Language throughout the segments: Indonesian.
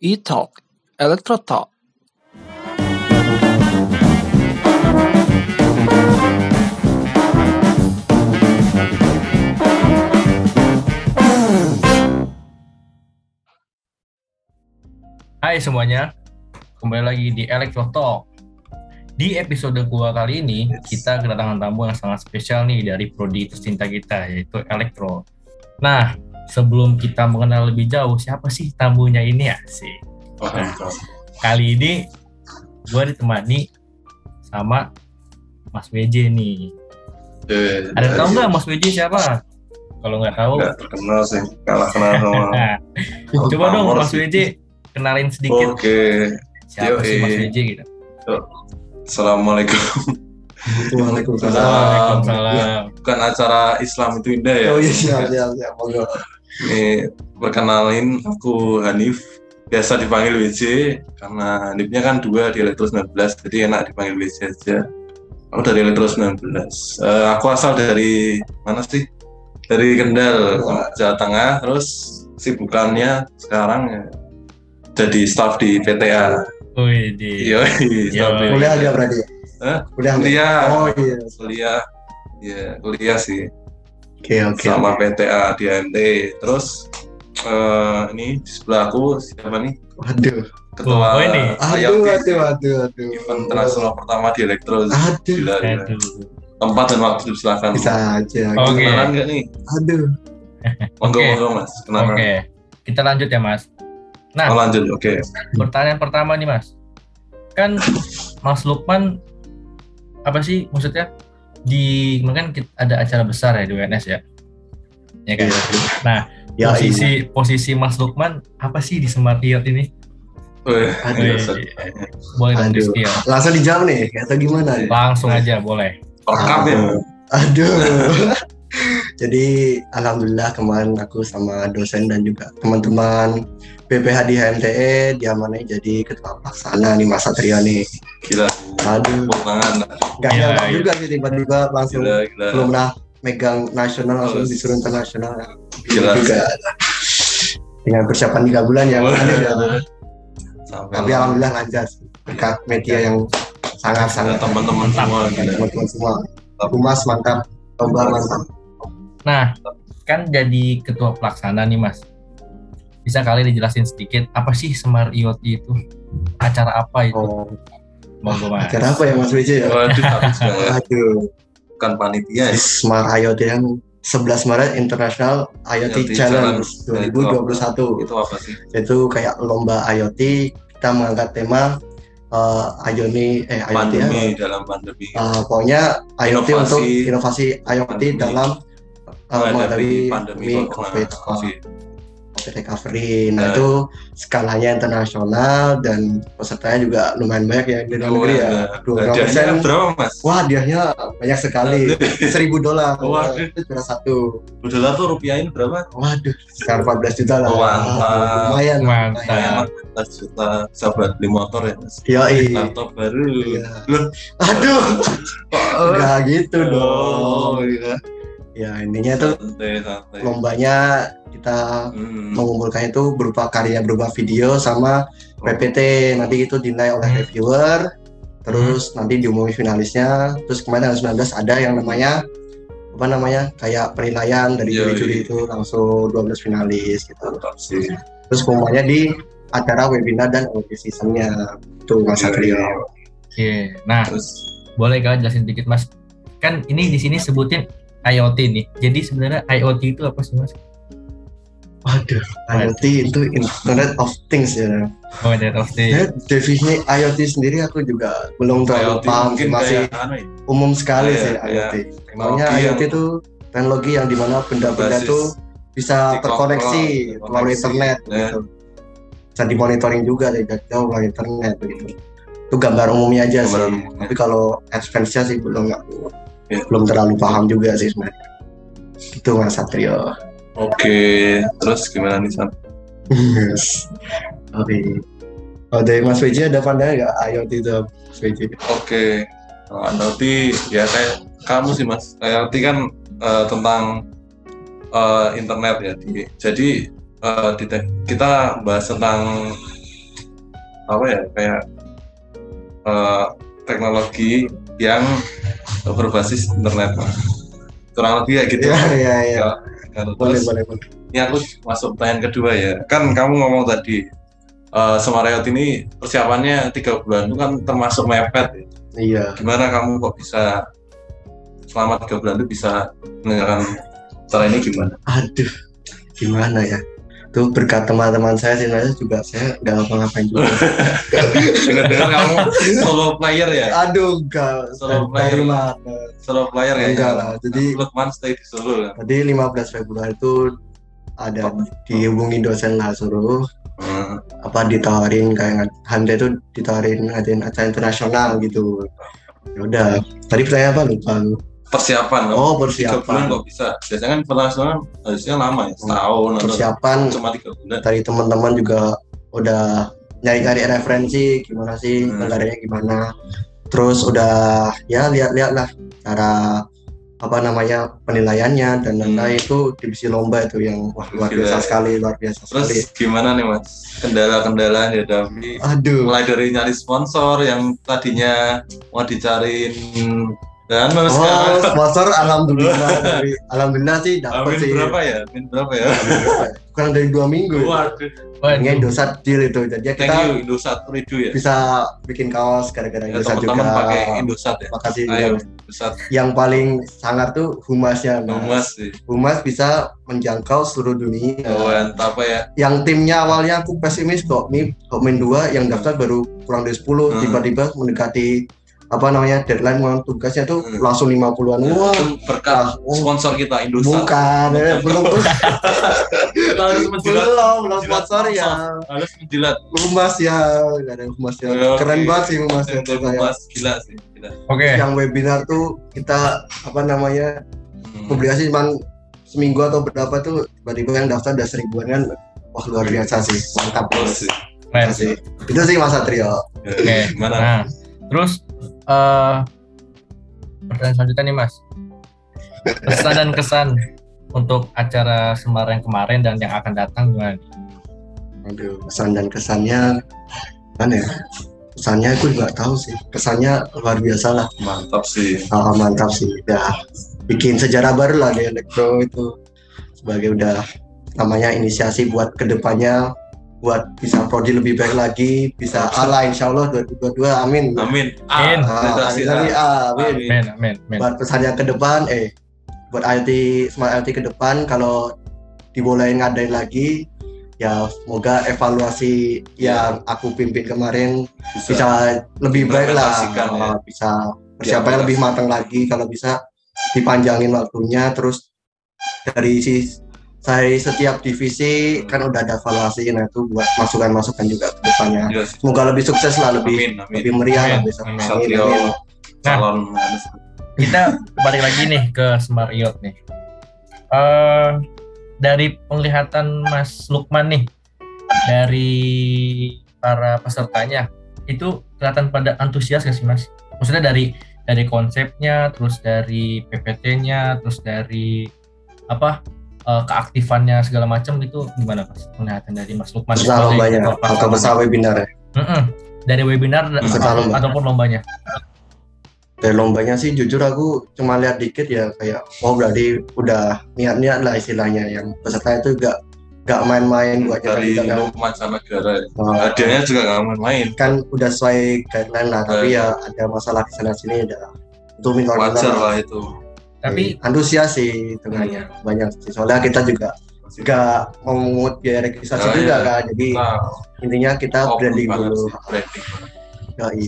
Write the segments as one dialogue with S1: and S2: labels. S1: E-Talk, Electro Talk.
S2: Hai semuanya, kembali lagi di Electro Talk. Di episode gua kali ini, kita kedatangan tamu yang sangat spesial nih dari prodi tercinta kita, yaitu Electro. Nah, sebelum kita mengenal lebih jauh, siapa sih tamunya ini ya? Si. Kali ini, gua ditemani sama Mas WJ nih.
S3: Eh,
S2: Ada tahu nggak Mas WJ siapa? Kalau nggak tahu,
S3: Nggak terkenal sih, kalah kenal sama.
S2: nah,
S3: Aku
S2: coba dong
S3: pamor
S2: Mas
S3: sih.
S2: WJ kenalin
S3: Oke,
S2: sedikit siapa sih Mas
S3: Yoi.
S2: WJ gitu.
S3: assalamualaikum. Ah, Waalaikumsalam.
S2: Waalaikumsalam.
S3: Bukan acara Islam itu indah ya.
S4: Oh iya siap siap siap. Monggo.
S3: Eh, perkenalin aku Hanif, biasa dipanggil WJ karena Hanifnya kan dua di Elektro 19, jadi enak dipanggil WJ aja. Aku dari Elektro 19. Eh, aku asal dari mana sih? Dari Kendal, Jawa Tengah. Terus sibukannya sekarang ya, jadi staff di PTA.
S2: Wih, di
S3: Iya, staff di
S4: Kuliah dia berarti. ya?
S3: Hah?
S4: Kuliah. nggak?
S3: Kuliah.
S4: Oh iya.
S3: kuliah ya kuliah sih
S4: Oke oke.
S3: sama PTA di AMT terus eh ini di sebelah aku siapa nih
S4: Waduh.
S3: ketua
S2: Oh, ini.
S4: Aduh
S3: IOT,
S4: aduh aduh aduh.
S3: event internasional pertama di Elektro
S4: Aduh.
S3: gila, gila.
S2: Aduh.
S3: tempat dan waktu silakan
S4: Bisa aja.
S2: Oke.
S3: kenalan nggak nih
S4: Aduh.
S3: monggo
S2: Oke.
S3: monggo mas
S2: Oke,
S3: kenalan
S2: kita lanjut ya Mas. Nah,
S3: Oh, lanjut oke
S2: pertanyaan pertama nih Mas. Kan Mas Lukman apa sih maksudnya di kan kita- ada acara besar ya di UNS ya? Ya kan. Nah,
S4: Iya. Ya
S2: posisi posisi Mas Lukman apa sih di Smart Youth ini?
S3: Weh,
S4: Aduh.
S3: iya,
S2: Wih,
S3: set.
S2: boleh dong
S4: Aduh.
S2: Rizky ya?
S4: Langsung dijawab nih atau gimana? nih?
S2: Langsung aja boleh.
S3: Rekam ya
S4: Aduh. Jadi alhamdulillah kemarin aku sama dosen dan juga teman-teman PPH di HMTE diamanai E, jadi ketua pelaksana nih Mas Satrio nih.
S3: gila
S4: Aduh,
S3: tepuk tangan
S4: gak
S2: Iya,
S4: nyangka
S2: iya.
S4: juga sih tiba-tiba langsung
S3: gila gila
S4: belum pernah megang nasional langsung
S3: Terus.
S4: disuruh internasional
S3: gila
S4: juga ya. dengan persiapan tiga bulan ya
S3: Wah.
S4: Alhamdulillah.
S3: Sampai
S4: tapi alhamdulillah lancar sih. berkat media yang sangat
S3: ada
S4: sangat
S3: teman-teman semua gila.
S4: teman-teman semua Humas mantap lomba mantap
S2: Nah, kan jadi ketua pelaksana nih Mas. Bisa kali dijelasin sedikit apa sih Smart IoT itu? Acara apa itu?
S4: oh,
S2: Monggo Mas.
S4: acara apa ya Mas BJ ya
S3: waduh aku juga nggak-
S4: aduh
S3: bukan panitia ya
S4: Smart IoT yang 11 Maret International IoT,
S3: IoT
S4: Challenge
S3: Challenge.
S4: 2021
S3: itu apa sih
S4: itu kayak lomba IoT kita mengangkat tema eh IoT eh IoT ya,
S3: pandemi dalam pandemi
S4: Uh, pokoknya IoT
S3: Inovasi.
S4: untuk inovasi IoT
S3: Pandemi.
S4: dalam uh,
S3: menghadapi
S4: menghadapi
S3: pandemi
S4: pandemi
S3: corona
S4: COVID, uh,
S3: covid
S4: COVID recovery. Nah
S3: Eh.
S4: itu skalanya internasional dan pesertanya juga lumayan banyak ya di luar negeri ya. Dua
S3: Nah, hadiahnya
S4: persen.
S3: berapa mas?
S4: Wah hadiahnya banyak sekali, seribu dolar.
S3: Waduh.
S4: Itu juara satu.
S3: Dua dolar tuh rupiahin berapa?
S4: Waduh, sekitar 14 juta lah.
S3: Mantap.
S4: Wah, lumayan.
S2: Mantap.
S3: 14 juta bisa buat beli motor ya mas?
S4: Yoi.
S3: Laptop baru
S4: Iya.
S3: Loh.
S4: Aduh,
S3: Enggak
S4: nggak gitu
S3: Oh,
S4: dong. Ya intinya tuh
S3: Santai
S4: Iya.
S3: santai
S4: lombanya kita
S3: Hmm.
S4: mengumpulkan itu berupa karya berupa video sama
S3: Oh.
S4: PPT nanti itu dinilai oleh
S3: Hmm.
S4: reviewer terus nanti diumumin finalisnya terus kemarin tanggal 19 ada yang namanya apa namanya kayak penilaian dari
S3: Iya,
S4: juri-juri
S3: iya.
S4: itu langsung 12 finalis gitu
S3: Mantap sih
S4: terus pengumumannya di acara webinar dan audio seasonnya tuh
S3: Iya,
S4: Mas Satrio
S2: Oke. Nah,
S3: Terus
S2: boleh kalian jelasin sedikit Mas? Kan ini di sini sebutin IoT nih. Jadi sebenarnya IoT itu apa sih Mas?
S4: waduh IoT itu Internet of Things ya
S2: Oh, Internet of Things.
S3: Iya.
S4: ya definisi IoT sendiri aku juga belum
S3: IoT
S4: terlalu paham
S3: mungkin
S4: masih
S3: kayak anu ya,
S4: umum sekali
S3: Iya,
S4: sih
S3: iya.
S4: IoT
S3: teknologi
S4: Maunya
S3: yang
S4: IoT itu teknologi yang dimana benda-benda
S3: berbasis ya,
S4: tuh bisa
S3: di
S4: terkoneksi
S3: cloud,
S4: melalui
S3: terkoneksi,
S4: internet
S3: ya.
S4: gitu. Bisa dimonitoring juga dari jarak jauh melalui internet gitu. Itu gambar umumnya aja
S3: gambaran
S4: sih.
S3: umumnya.
S4: Tapi kalau advance-nya sih belum nggak-
S3: Ya.
S4: belum terlalu paham juga sih sebenarnya. Gitu Mas Satrio.
S3: Oke, terus gimana nih San? Iya.
S4: Yes. Oke. Oh, dari Mas Wiji ada pandangan nggak IoT itu apa, Mas Wiji?
S3: Oke, Nah, nanti ya kayak kamu sih mas, IoT kan eh, tentang eh, internet ya. Di- Jadi eh, di te- kita bahas tentang apa ya kayak eh, teknologi yang berbasis internet Mas. kurang lebih kayak gitu
S4: Iya, iya, iya.
S3: Ya, kalau
S4: Boleh,
S3: terus
S4: boleh, boleh.
S3: ini aku masuk pertanyaan kedua ya kan kamu ngomong tadi eh Semarayot ini persiapannya tiga bulan itu kan termasuk mepet ya.
S4: Iya.
S3: gimana kamu kok bisa selama tiga bulan itu bisa mendengarkan cara ini gimana
S4: Aduh, gimana ya? Tuh berkat teman-teman saya sebenarnya juga saya nggak ngapa-ngapain juga.
S3: dengar-dengar kamu solo player ya
S4: Aduh, enggak.
S3: Solo player. solo player ya
S4: Enggak lah. Jadi
S3: Lukman stay di Solo kan
S4: tadi 15 Februari itu ada dihubungi dosen lah suruh
S3: Hmm.
S4: apa ditawarin kayak ngad- Hamda itu ditawarin ngadain acara internasional gitu ya udah tadi pertanyaan apa lupa
S3: persiapan kamu
S4: oh
S3: tiga bulan
S4: persiapan
S3: kok bisa biasanya kan internasional harusnya lama ya setahun atau
S4: persiapan
S3: cuma tiga bulan
S4: dari teman-teman juga udah nyari-nyari referensi gimana sih
S3: Hmm.
S4: negaranya gimana terus udah ya lihat-lihat lah cara apa namanya penilaiannya dan
S3: Hmm.
S4: lain-lain itu divisi lomba itu yang wah luar
S3: Gila.
S4: biasa sekali luar biasa
S3: terus
S4: sekali
S3: gimana nih mas kendala-kendala yang dihadapi
S4: aduh
S3: mulai dari nyari sponsor yang tadinya mau dicariin dan
S4: Oh,
S3: sekarang
S4: sponsor alhamdulillah dari alhamdulillah sih dapat
S3: Amin
S4: sih.
S3: berapa ya? Amin berapa ya?
S4: Kurang dari dua minggu. ya.
S3: Waduh.
S4: Ini
S2: Waduh,
S4: dosa deal itu. Jadi
S3: Thank
S4: kita
S3: you Indosat Ridu ya.
S4: bisa bikin kaos gara-gara
S3: ya
S4: Indosat
S3: Teman-teman
S4: juga.
S3: pakai Indosat ya.
S4: Makasih.
S3: Ayo Indosat
S4: Yang paling sangar tuh humasnya. Mas.
S3: Nomas sih.
S4: Humas bisa menjangkau seluruh dunia.
S3: Kawan apa ya?
S4: Yang timnya awalnya aku pesimis kok nih kok main dua, yang daftar baru kurang dari 10,
S3: Hmm.
S4: tiba-tiba mendekati apa namanya deadline mau tugasnya tuh
S3: Hmm.
S4: langsung 50-an. Wah,
S3: Itu berkat
S4: oh.
S3: sponsor kita Indosat.
S4: bukan, eh, belum
S3: Kita harus menjilat,
S4: belum belum
S3: Jilat
S4: sponsor ya
S3: harus menjilat.
S4: humas ya nggak ada humas ya
S3: Oke.
S4: keren banget sih humas ya
S3: Yang Nomas gila sih. gila.
S2: oke.
S4: yang webinar tuh kita apa namanya
S3: Hmm.
S4: publikasi cuma seminggu atau berapa tuh tiba-tiba yang daftar udah seribuan kan wah luar biasa sih mantap
S3: Hmm. Terus sih.
S2: Keren.
S4: sih itu sih Mas Satrio
S3: Ya,
S2: Oke,
S3: Gimana?
S2: Nah, terus eh pertanyaan selanjutnya nih Mas. Pesan dan kesan untuk acara Semarang kemarin dan yang akan datang gimana? nih?
S4: aduh kesan dan kesannya kan ya kesannya aku nggak tahu sih kesannya luar biasa lah
S3: Mantap sih.
S4: Ah, mantap sih udah bikin sejarah baru lah di elektro itu sebagai udah namanya inisiasi buat kedepannya buat bisa prodi lebih baik lagi bisa Allah insya Allah 2022 amin
S3: Amin.
S2: Amin.
S4: Ah,
S3: Prestasi
S4: amin, amin,
S3: A.
S4: amin.
S3: Amin.
S2: Men, men, men.
S4: buat pesannya ke depan eh buat IT smart IT ke depan kalau dibolehin ngadain lagi ya semoga evaluasi
S3: Iya.
S4: yang aku pimpin kemarin bisa lebih baik lah
S3: Implementasikan, ya.
S4: Uh, bisa persiapannya lebih matang lagi kalau bisa dipanjangin waktunya terus dari si dari setiap divisi
S3: Hmm.
S4: kan udah ada evaluasi nah itu buat masukan-masukan juga ke depannya
S3: Iya sih.
S4: semoga lebih sukses lah lebih
S3: Amin, amin.
S4: lebih Nah. meriah lah
S2: Amin,
S4: besok
S2: amin.
S4: Amin,
S3: Satrio
S4: amin.
S3: calon
S2: kita balik lagi nih ke Smart Yacht nih. Eh dari penglihatan Mas Lukman nih, dari para pesertanya, itu kelihatan pada antusias gak sih Mas? Maksudnya dari dari konsepnya, terus dari PPT-nya, terus dari apa eh, keaktifannya segala macam gitu gimana Mas? Penglihatan dari Mas Lukman? sebagai
S4: peserta lombanya
S2: ketua
S4: atau
S2: pelaksana.
S4: peserta webinar ya
S2: Mm-mm. Dari webinar da-
S4: Peserta lomba.
S2: ataupun lombanya?
S4: dari lombanya sih jujur aku cuma lihat dikit ya kayak oh berarti udah niat-niat lah istilahnya yang peserta itu gak gak main-main buat
S3: dari
S4: nyata-nyata.
S3: mancanegara
S4: Nah,
S3: hadiahnya juga nggak main-main
S4: kan udah sesuai guideline lah tapi ya ada masalah di sana sini ada itu minta
S3: wajar
S4: orang-
S3: lah itu
S2: Tapi Hmm.
S4: antusias sih tengahnya banyak sih soalnya kita juga juga mau mengut biaya registrasi
S3: Nah,
S4: juga
S3: iya.
S4: kan jadi
S3: nah,
S4: intinya kita
S3: open
S4: branding
S3: banget
S4: dulu
S3: sih, branding banget.
S4: Yoi.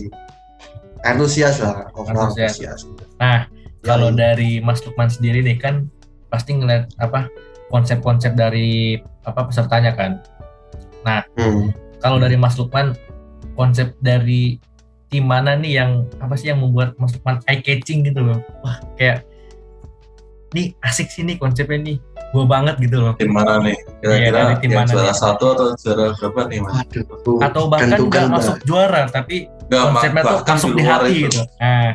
S4: antusias lah overall
S2: Antusias.
S4: antusias
S2: nah kalau
S4: Yoi.
S2: dari Mas Lukman sendiri deh kan pasti ngeliat apa konsep-konsep dari apa pesertanya kan.
S4: hmm.
S2: Kalau dari Mas Lukman konsep dari tim mana nih yang apa sih yang membuat Mas Lukman eye catching gitu loh. Wah, kayak nih asik sih nih konsepnya nih. Gua banget gitu loh.
S3: tim mana nih kira-kira
S2: Iya, dari tim
S3: yang
S2: mana
S3: juara
S2: nih?
S3: satu atau juara berapa nih mas
S4: Waduh, aku
S2: Atau bahkan
S4: tentukan,
S2: nggak
S4: Mbak.
S2: masuk juara tapi
S3: Nggak,
S2: konsepnya tuh
S3: bahkan
S2: masuk di
S3: luar
S2: hati
S3: itu.
S2: gitu. Nah,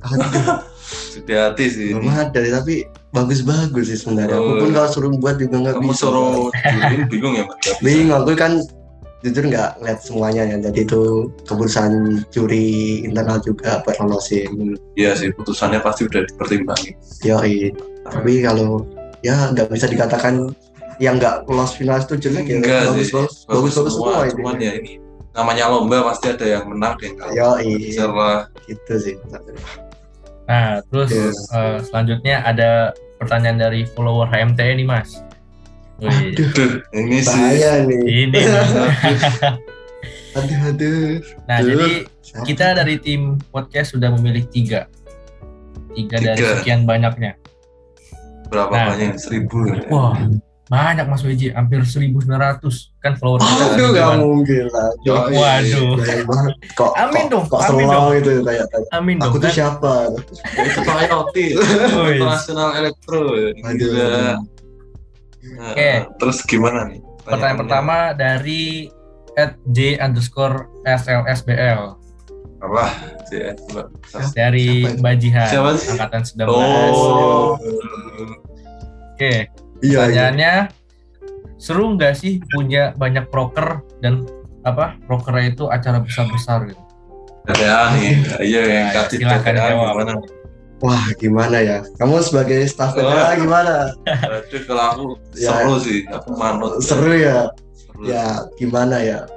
S4: Aduh,
S3: di hati sih ini.
S4: belum ada tapi bagus-bagus sih sebenarnya. Aku pun
S3: Oh.
S4: kalau suruh buat juga nggak
S3: kamu
S4: bisa.
S3: suruh juriin bingung ya mas Nggak bisa.
S4: Bingung, aku kan jujur nggak lihat semuanya ya jadi itu keputusan juri internal juga buat lolosin
S3: Iya sih, putusannya pasti udah dipertimbangin.
S4: Yoi. Tapi kalau ya nggak bisa dikatakan yang nggak lolos final itu jelek ya.
S3: Enggak
S4: bagus,
S3: sih,
S4: bagus, bagus, bagus semua, ini.
S3: Cuman ya ini namanya lomba pasti ada yang menang dan yang kalah.
S4: Yoi,
S3: Secara
S4: gitu sih.
S2: Nah, terus
S4: Yes.
S2: eh, selanjutnya ada pertanyaan dari follower HMT nih, Mas. Wih,
S4: Aduh,
S3: Duh, ini sih.
S4: bahaya nih.
S2: ini. nih.
S4: Aduh, aduh.
S2: Nah,
S3: Aduh.
S2: jadi
S4: Siapa?
S2: kita dari tim podcast sudah memilih tiga. Tiga, dari
S3: Tiga.
S2: sekian banyaknya.
S3: Berapa
S2: Nah.
S3: banyak? Seribu. ya?
S2: Wah, banyak Mas Weji, hampir 1900 kan follower kita.
S4: Aduh,
S2: ribuan.
S4: nggak mungkin lah.
S3: Yoi.
S2: Waduh,
S4: Banyak banget. Kok,
S2: Amin
S4: kok-
S2: dong,
S4: kok
S2: amin
S4: selau
S2: dong.
S4: itu kayak tanya,
S2: amin dong.
S4: Aku tuh
S2: kan?
S4: siapa?
S3: Ya, Itu IoT,
S2: Oh, Wih.
S3: internasional elektro. ya.
S4: Aduh.
S3: Gila. Nah,
S2: Oke.
S3: Terus gimana nih?
S2: Pertanyaan pertama dari at J underscore SLSBL
S3: Apa? CS, Mbak.
S2: Nah. dari
S4: Siapa itu?
S2: Mbak Jihan,
S3: eh, Siapa sih?
S2: angkatan 19.
S3: Oh.
S2: Oke,
S4: Iya, iya.
S2: pertanyaannya seru nggak sih punya banyak proker dan apa prokernya itu acara besar-besar gitu?
S3: KTA nih. Iya yang
S2: Nah,
S3: kasih
S2: silakan
S3: KTA
S2: jawab.
S3: gimana?
S4: Wah, gimana ya? Kamu sebagai staff
S3: Wah.
S4: PTA gimana?
S3: Aduh, kalau aku
S4: Ya.
S3: seru sih. Aku manut.
S4: Seru ya?
S3: Seru.
S4: ya gimana ya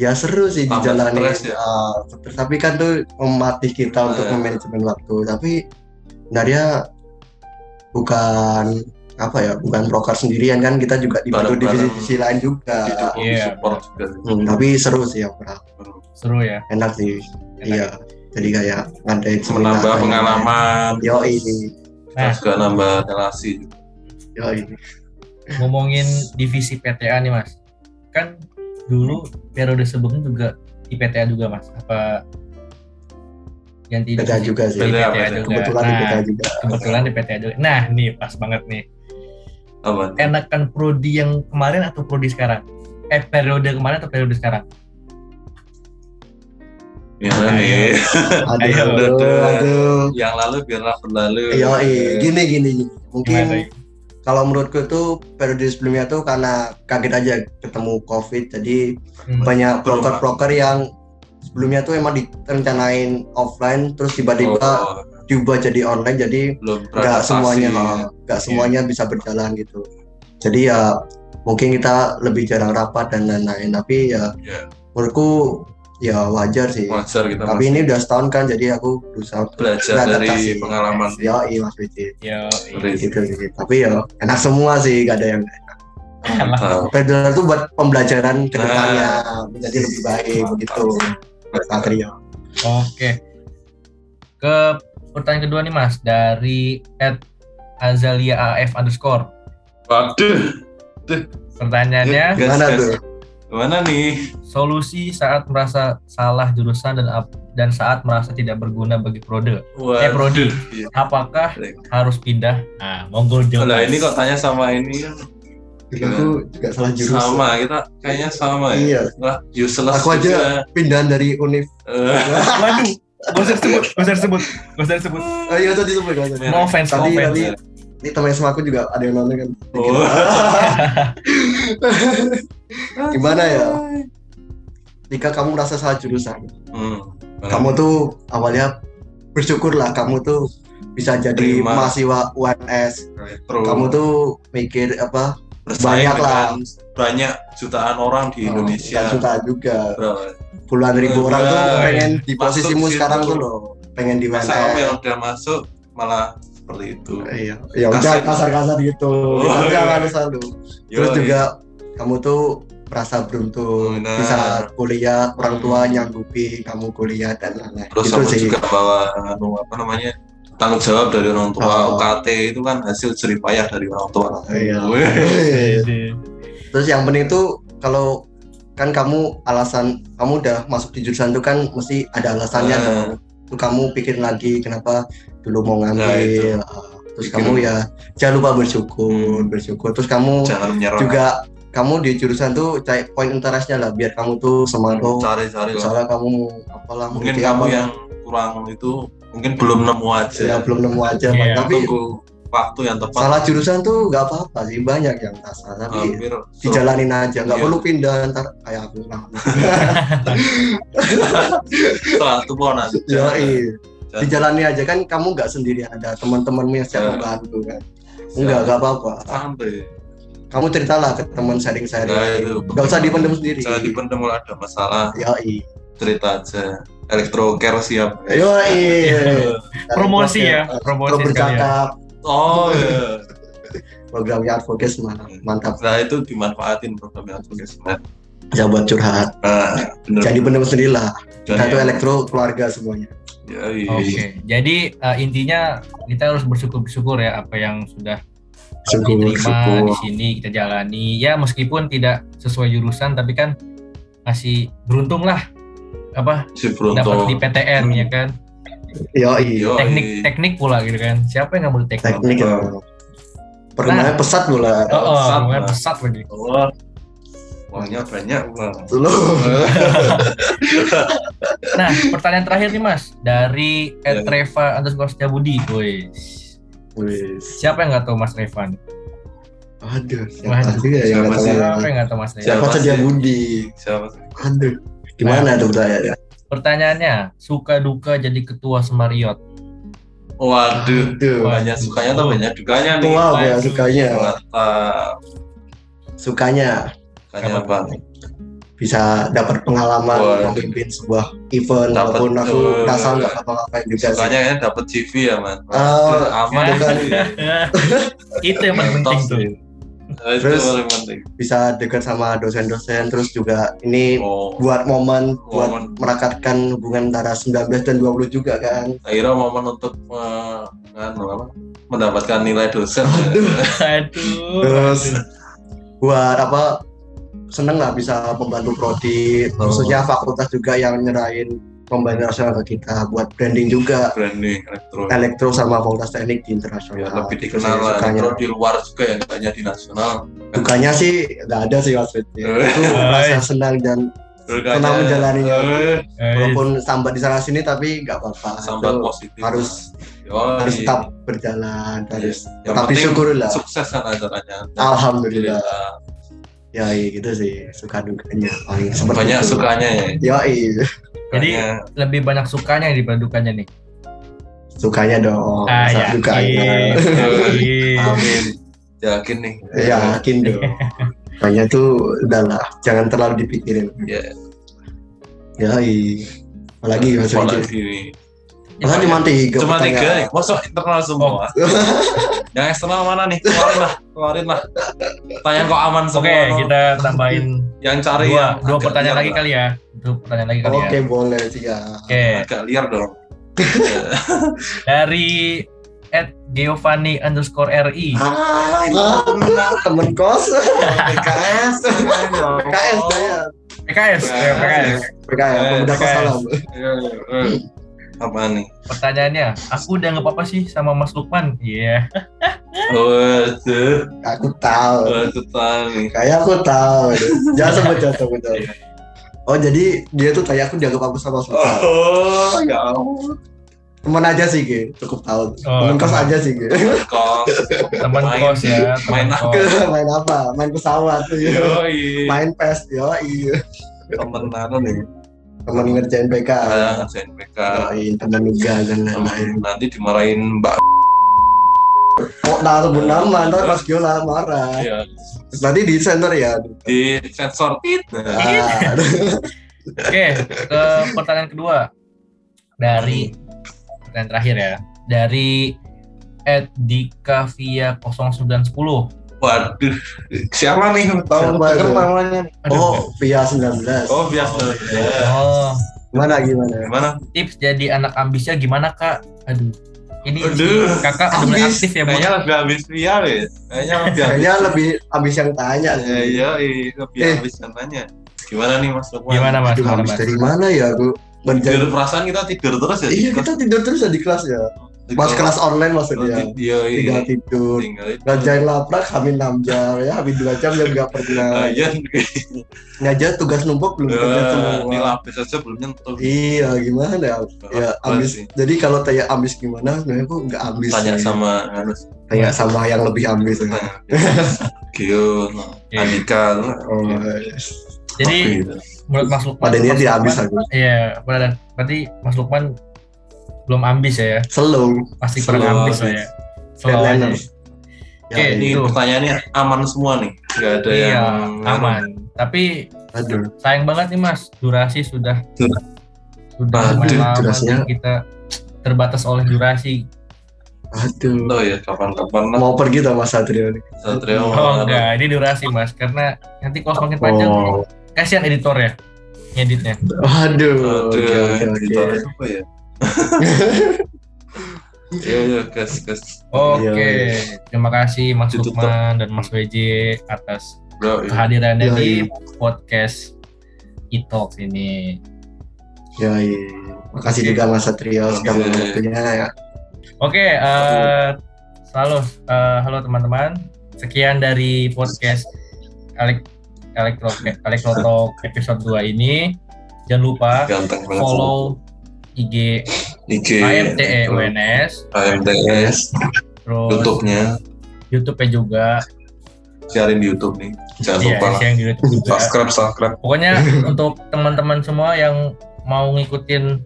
S4: ya seru sih
S3: Tambah
S4: dijalani
S3: stres ya.
S4: Ah, tapi- tapi kan tuh mematih kita untuk
S3: Ah.
S4: memanajemen waktu tapi sebenarnya bukan apa ya bukan broker sendirian kan kita juga dibantu
S3: Bareng-bareng.
S4: divisi-divisi lain juga
S3: Didukung,
S2: Iya.
S3: disupport juga.
S4: Hmm, tapi seru sih yang pernah
S2: Seru ya?
S4: enak sih iya jadi kayak ngadain seminar
S3: Menambah
S4: kayak-
S3: pengalaman.
S4: Iya. yoi
S3: Kita
S2: Nah.
S3: juga nambah relasi.
S4: yoi
S2: Ngomongin divisi PTA nih mas, kan dulu periode sebelumnya juga di PTA juga mas, apa ganti
S4: PTA
S2: divisi?
S4: juga sih.
S2: Di PTA,
S3: PTA.
S2: juga.
S4: kebetulan
S2: nah,
S4: kita juga
S2: kebetulan di PTA juga. Nah nih pas banget nih,
S3: Apa? nih?
S2: enakan prodi yang kemarin atau prodi sekarang? Eh periode kemarin atau periode sekarang?
S3: Gimana
S2: Ayo.
S3: nih?
S4: aduh
S2: Ayo,
S4: aduh,
S3: dadah.
S4: aduh.
S3: yang lalu biarlah berlalu.
S4: yoi Gitu, gini gini gini.
S2: Gimana
S4: mungkin
S2: tuh?
S4: kalau menurutku tuh periode sebelumnya tuh karena kaget aja ketemu covid jadi
S2: Hmm.
S4: banyak
S3: Belum.
S4: broker-broker yang sebelumnya tuh emang direncanain offline terus tiba-tiba
S3: Oh,
S4: diubah jadi online jadi
S3: belum
S4: nggak
S3: beradaptasi.
S4: semuanya nggak
S3: Iya.
S4: semuanya bisa berjalan gitu jadi ya mungkin kita lebih jarang rapat dan lain-lain tapi ya
S3: Iya.
S4: menurutku ya wajar sih
S3: Wajar kita
S4: tapi ini udah setahun kan jadi aku berusaha
S3: masih belajar dari
S4: beradaptasi.
S3: pengalaman. iya.
S4: ya iya mas Widi
S2: Yo,
S3: Sorry.
S4: gitu sih tapi ya enak semua sih gak ada yang
S3: Tahu.
S4: Pedal itu buat pembelajaran ke
S3: Nah.
S4: depannya menjadi lebih baik begitu. Satrio.
S2: Oke. Ke pertanyaan kedua nih Mas dari at Azalia AF underscore.
S3: Waduh,
S2: Pertanyaannya,
S3: Gas,
S4: Gimana
S3: gas.
S4: tuh?
S3: Mana nih?
S2: solusi saat merasa salah jurusan dan ap- dan saat merasa tidak berguna bagi prode.
S3: Waduh.
S2: Eh, prodi.
S3: Iya.
S2: Apakah harus pindah? Nah, monggo jawab.
S3: Lah
S2: Mas.
S3: ini kok tanya sama ini kan
S4: Juga Aku juga salah jurusan.
S3: sama kita kayaknya sama ya.
S4: Iya.
S3: Lah useless
S4: Aku aja.
S3: juga.
S4: Pindahan dari univ.
S3: Eh,
S2: Waduh, gak usah sebut, gak usah sebut, gak usah sebut.
S4: Ayo Eh, iya, tadi tuh pegang.
S3: Merah.
S2: No offense, no
S4: Tadi-
S2: offense.
S3: ya.
S4: tadi- Ini teman sama aku juga ada yang nonton kan.
S3: Oh.
S4: Gimana ya? Jika kamu merasa salah jurusan,
S3: Hmm.
S4: kamu tuh awalnya bersyukurlah kamu tuh bisa jadi
S3: Terima.
S4: mahasiswa UNS.
S3: Retro.
S4: Kamu tuh mikir apa?
S3: Bersaing
S4: banyak lah. Oh,
S3: dengan banyak jutaan orang di Indonesia.
S4: Gak suka juga.
S3: Berapa?
S4: puluhan ribu
S3: Eh,
S4: orang tuh
S3: enggak.
S4: pengen di
S3: Masuk
S4: posisimu
S3: situ.
S4: sekarang tuh loh pengen di
S3: Masa
S4: mana
S3: kamu yang udah masuk malah seperti itu.
S4: iya ya udah
S3: Kasar.
S4: kasar-kasar gitu
S3: Oh,
S4: Tapi
S3: iya.
S4: jangan selalu terus
S3: Yoi.
S4: juga kamu tuh merasa beruntung
S3: Benar.
S4: bisa kuliah orang tua nyanggupi kamu kuliah dan lain-lain
S3: terus
S4: gitu
S3: sama
S4: sih
S3: juga bawa anu, apa namanya tanggung jawab dari orang tua
S4: Oh.
S3: UKT itu kan hasil jeripayah dari orang tua Eh,
S4: Iya.
S3: Weh.
S4: terus yang penting tuh kalau kan kamu alasan kamu udah masuk di jurusan tuh kan mesti ada alasannya
S3: Ah.
S4: dong tuh kamu pikir lagi kenapa dulu mau
S3: Nah, itu.
S4: ngambil Ah, terus
S3: Pikir. Hmm.
S4: kamu ya jangan lupa bersyukur bersyukur terus kamu
S3: jangan menyerah
S4: juga kamu di jurusan tuh cari point interestnya lah biar kamu tuh semangat oh,
S3: cari-cari lah
S4: soalnya kamu gitu ya, mau apalah
S3: mungkin
S4: meneliti
S3: kamu
S4: apa.
S3: yang kurang itu mungkin belum nemu aja
S4: Iya, ya belum nemu aja Pak.
S2: Iya.
S4: tapi
S3: tunggu waktu yang tepat
S4: salah jurusan tuh nggak apa-apa sih banyak yang tak salah tapi
S3: hampir
S4: dijalanin aja
S3: Ah,
S4: nggak
S3: Iya.
S4: perlu pindah ntar kayak aku lah
S3: setelah itu pohon aja
S4: ya iya dijalani aja kan kamu nggak sendiri ada teman-temanmu yang siap
S3: Ya.
S4: membantu kan
S3: Iya.
S4: enggak nggak apa-apa
S3: santai
S4: kamu ceritalah ke teman
S3: Nah,
S4: sharing-sharing
S3: itu.
S4: nggak usah dipendam sendiri
S3: jangan dipendam kalau ada masalah
S4: yo i
S3: cerita aja elektroker siap
S4: yo iya. i
S2: Promosi ya, promosi
S4: program
S2: sekalian.
S4: bercakap
S3: oh iya
S4: programnya advokes mantap mantap
S3: nah itu dimanfaatin program yang sudah sebenarnya
S4: ya buat curhat
S3: nah bener
S4: jadi benar sendirilah
S3: Dan
S4: satu
S3: ya,
S4: elektro keluarga semuanya
S3: ya, iya.
S2: Oke, jadi eh, intinya kita harus bersyukur-bersyukur ya apa yang sudah
S4: syukur
S2: diterima di sini kita jalani ya meskipun tidak sesuai jurusan tapi kan masih beruntung lah apa
S3: si
S2: dapat di
S3: Brunto
S2: PTN ya kan
S4: yo i
S3: Yoi.
S2: teknik-teknik pula gitu kan siapa yang nggak mau teknik
S4: teknik ya
S3: Nah.
S4: perkembangannya pesat pula
S2: oh, oh
S3: pesat,
S2: lumayan
S3: Pak.
S2: pesat lagi
S3: Wah, Oh, uangnya banyak uang
S4: lo
S2: nah pertanyaan terakhir nih mas dari Ed Reva underscore Setiabudi woi siapa yang nggak tahu mas Revan
S4: aduh
S2: Waduh,
S4: siapa sih ya
S3: siapa
S4: yang nggak
S3: sih?
S2: siapa
S4: tahu
S2: yang nggak tahu mas Revan
S4: siapa
S3: Siapa
S4: saja
S3: sih?
S4: Budi
S3: siapa sih?
S4: aduh gimana tuh ya? pertanyaannya
S2: pertanyaannya suka duka jadi ketua Semariot
S3: waduh
S4: aduh
S3: banyak sukanya atau banyak dukanya nih eh,
S4: Wow, banyak ya, sukanya.
S3: Mantap.
S4: sukanya
S3: sukanya apa
S4: bisa dapat pengalaman
S3: Wah.
S4: memimpin sebuah event
S3: Dapat
S4: walaupun aku
S3: tuh.
S4: nggak salah nggak apa-apa juga sih
S3: sukanya kan dapat CV ya man
S4: Oh,
S3: aman
S4: dengan-
S2: itu yang paling penting
S3: Mentok
S2: tuh
S3: sih. Nah, itu
S4: Terus-
S3: paling penting
S4: bisa dekat sama dosen-dosen terus juga ini
S3: oh
S4: buat momen buat
S3: momen
S4: merekatkan hubungan antara 19 dan 20 juga kan
S3: akhirnya momen untuk eh, nganu, apa, mendapatkan nilai dosen
S2: aduh
S4: terus
S3: Iya.
S4: buat apa seneng lah bisa membantu prodi
S3: Oh.
S4: khususnya fakultas juga yang nyerahin pembantu nasional ke kita buat branding juga
S3: branding elektro
S4: elektro sama fakultas teknik
S3: ya,
S4: di internasional
S3: lebih
S4: Kan. Itu
S3: dikenal
S4: sih
S3: lah
S4: sukanya
S3: elektro di luar juga ya nggak hanya di nasional
S4: dukanya sih nggak ada sih mas Fit.
S3: Iya.
S4: itu rasa senang dan
S3: Dukanya,
S4: Senang menjalaninya.
S3: eh,
S4: walaupun sambat di sana sini tapi nggak apa-apa
S3: sambat
S4: Itu
S3: positif
S4: harus
S3: Yoi.
S4: harus tetap berjalan harus
S3: Iya. Yang
S4: tapi
S3: penting
S4: syukurlah
S3: sukses kan acaranya
S4: alhamdulillah ya iya, gitu sih suka dukanya paling seperti
S3: banyak
S4: itu.
S3: sukanya ya
S4: ya iya.
S2: Jadi,
S3: Banyak.
S2: lebih banyak sukanya daripada dukanya nih
S4: sukanya
S2: Ah,
S4: dong Oh,
S2: Iya.
S4: Masa
S2: yakin.
S4: dukanya
S2: Yakin.
S3: amin yakin nih
S4: ya yakin dong Kayaknya tuh udahlah jangan terlalu dipikirin
S3: ya
S4: ya iya. apalagi mas
S3: Apalagi
S4: Riki
S3: ini.
S4: Masa cuma tiga
S3: cuma tiga
S4: pertanyaan. Oh.
S3: ya masuk internal semua yang eksternal mana nih keluarin lah keluarin lah tanya kok aman semua
S2: Oke,
S3: no.
S2: kita tambahin
S3: yang cari
S2: dua,
S3: yang
S2: dua
S3: agak
S2: pertanyaan
S3: liar
S2: lagi
S3: lah.
S2: kali ya. Dua pertanyaan lagi kali
S4: oke
S2: ya.
S4: boleh sih ya
S2: Oke,
S3: agak liar dong
S2: dari at Giovanni underscore RI.
S3: ah ini
S4: Ah,
S3: benar.
S4: temen kos PKS PKS
S3: Oh.
S4: saya
S2: PKS, ya, PKS.
S4: PKS
S3: Eh,
S4: pemuda kos
S2: PKS.
S4: salam
S3: Eh, eh. apa nih
S2: Pertanyaannya, aku udah nggak apa-apa sih sama Mas Lukman? Iya.
S3: waduh
S4: aku tahu
S3: waduh tahu nih
S4: kayak aku tahu jangan sebut jangan sebut jangan sebut. oh jadi dia tuh kayak aku dianggap aku sama suka
S3: oh ya ampun
S4: temen aja sih Ge. cukup tahu
S2: Oh,
S4: temen kos
S2: teman.
S4: aja sih Ge.
S3: kos
S2: Teman
S3: Main-
S2: kos ya,
S3: main
S2: teman kos.
S4: main apa main pesawat iya.
S3: yoi
S4: main pes yo iya
S3: temen anu nih
S4: temen ngerjain PK
S3: ada SNPK
S4: Yoi, temen juga dan lain-lain
S3: nanti dimarahin mbak
S4: kok tahu sebut nama ntar mas Giola marah
S3: ya
S4: Terus nanti di center ya
S3: di sensor tit nah,
S4: Ah,
S2: Oke, ke pertanyaan kedua. Dari pertanyaan terakhir ya. Dari at Dika Via 0910.
S3: waduh siapa nih tahu
S4: Siapa
S3: denger
S4: itu?
S3: namanya nih?
S4: oh via 19
S3: oh biasa
S2: Oh,
S4: gimana gimana
S3: gimana
S2: tips jadi anak ambisnya gimana kak? Aduh, ini
S3: Aduh.
S2: kakak udah mulai
S4: Ambis.
S2: aktif ya bu.
S3: kayaknya lebih habis dia deh kayaknya lebih habis
S4: kayaknya lebih ambis yang tanya
S3: ya
S4: sih.
S3: iya iya, lebih
S4: Eh.
S3: habis namanya gimana nih mas Lukman
S2: Gimana mas?
S4: Aduh,
S2: Gimana
S4: habis
S2: mas?
S4: dari mana ya aku
S3: tidur
S4: ngerjain
S3: perasaan kita tidur terus ya
S4: iya
S3: Tidur.
S4: kita tidur terus ya di kelas ya
S3: Jadi
S4: Mas
S3: kalau
S4: kelas online maksudnya.
S3: rutin, iya, iya.
S4: Tinggal tidur.
S3: tinggal
S4: Ngerjain laprak hamil 6 jam ya, habis 2 jam ya nggak
S3: Ah,
S4: pernah.
S3: iya.
S4: Ini aja tugas numpuk belum kerja
S3: Eh, ini
S4: semua.
S3: lapis aja belum nyentuh
S4: Iya, gimana ya? Ya, ambis.
S3: sih.
S4: Jadi kalau tanya ambis gimana, sebenarnya aku nggak ambis.
S3: tanya
S4: sih.
S3: sama anu
S4: Tanya sama yang lebih ambis. ya.
S3: Gio no.
S2: Iya.
S3: Andika no.
S4: Oh,
S3: Iya.
S2: Jadi
S3: Gitu.
S2: menurut Mas Lukman
S4: Pada dia
S2: Mas
S4: tidak
S2: Lukman-
S4: ambis aku.
S2: Iya, padahal berarti Mas Lukman belum ambis ya,
S4: Slow. Iya,
S2: pasti kurang
S3: Slow
S2: ambis lah
S3: ambis.
S2: ya. Slow aja.
S4: Deadliner.
S2: iya. Oke,
S4: Ya,
S3: ini
S2: Gitu.
S3: pertanyaannya aman semua nih nggak ada
S2: Iya,
S3: yang
S2: aman. Tapi
S4: aduh.
S2: sayang banget nih Mas, durasi sudah
S3: Sudah.
S2: sudah
S4: Aduh,
S2: lumayan lama
S4: durasinya.
S2: nih kita terbatas oleh durasi.
S4: Aduh.
S3: Tahu ya kapan-kapan lah
S4: Mau pergi tuh Mas Satrio nih.
S3: Satria mau
S2: Oh enggak, ini durasi Mas karena nanti kalau semakin panjang
S4: Oh.
S2: kasihan editor ya ngeditnya.
S4: Aduh.
S3: Aduh,
S4: Oke, oke,
S3: editor
S4: oke.
S3: apa ya? Iya, iya, gas, gas.
S2: Oke,
S4: Iya.
S2: terima kasih Mas
S3: Ditutup.
S2: Lukman dan Mas WJ atas
S3: Bro, iya.
S2: kehadirannya
S4: Iya,
S2: di
S4: iya.
S2: podcast Italk ini.
S4: Ya, iya. Makasih
S2: Oke.
S4: juga Mas Satrio sudah
S3: Oke.
S4: waktunya ya.
S2: Oke, eh halo, eh, halo teman-teman. Sekian dari podcast Elek Elektro Elektrotalk episode 2 ini. Jangan lupa
S3: Ganteng banget.
S2: follow IG
S3: IG,
S2: AMTE UNS,
S3: AMTS,
S2: terus
S3: E YouTube-nya,
S2: YouTube-nya juga,
S3: siarin di YouTube nih. Jangan
S2: ya,
S3: lupa lah.
S2: yang di YouTube juga.
S3: subscribe, subscribe.
S2: Pokoknya untuk teman-teman semua yang mau ngikutin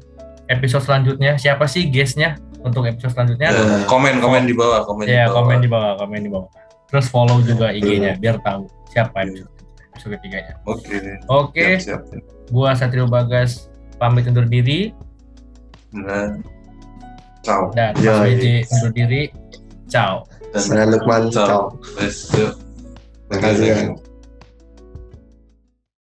S2: episode selanjutnya, siapa sih guestnya untuk episode selanjutnya?
S3: Eh, komen, komen di bawah, komen di
S2: Ya,
S3: bawah. Iya.
S2: komen di bawah, komen di bawah. Terus follow juga IG-nya biar tahu siapa episode, episode ketiganya.
S3: Oke,
S2: Oke,
S3: siap, siap, siap.
S2: gua Satrio Bagas pamit undur diri
S3: Dan, Nah, ciao.
S2: dan Mas
S4: Yoi.
S2: WJ
S3: iya.
S2: undur diri. Ciao.
S3: Dan,
S4: Saya Lukman.
S3: Ciao.
S4: Ciao.
S3: Wes, yuk.
S4: Makasih, ya.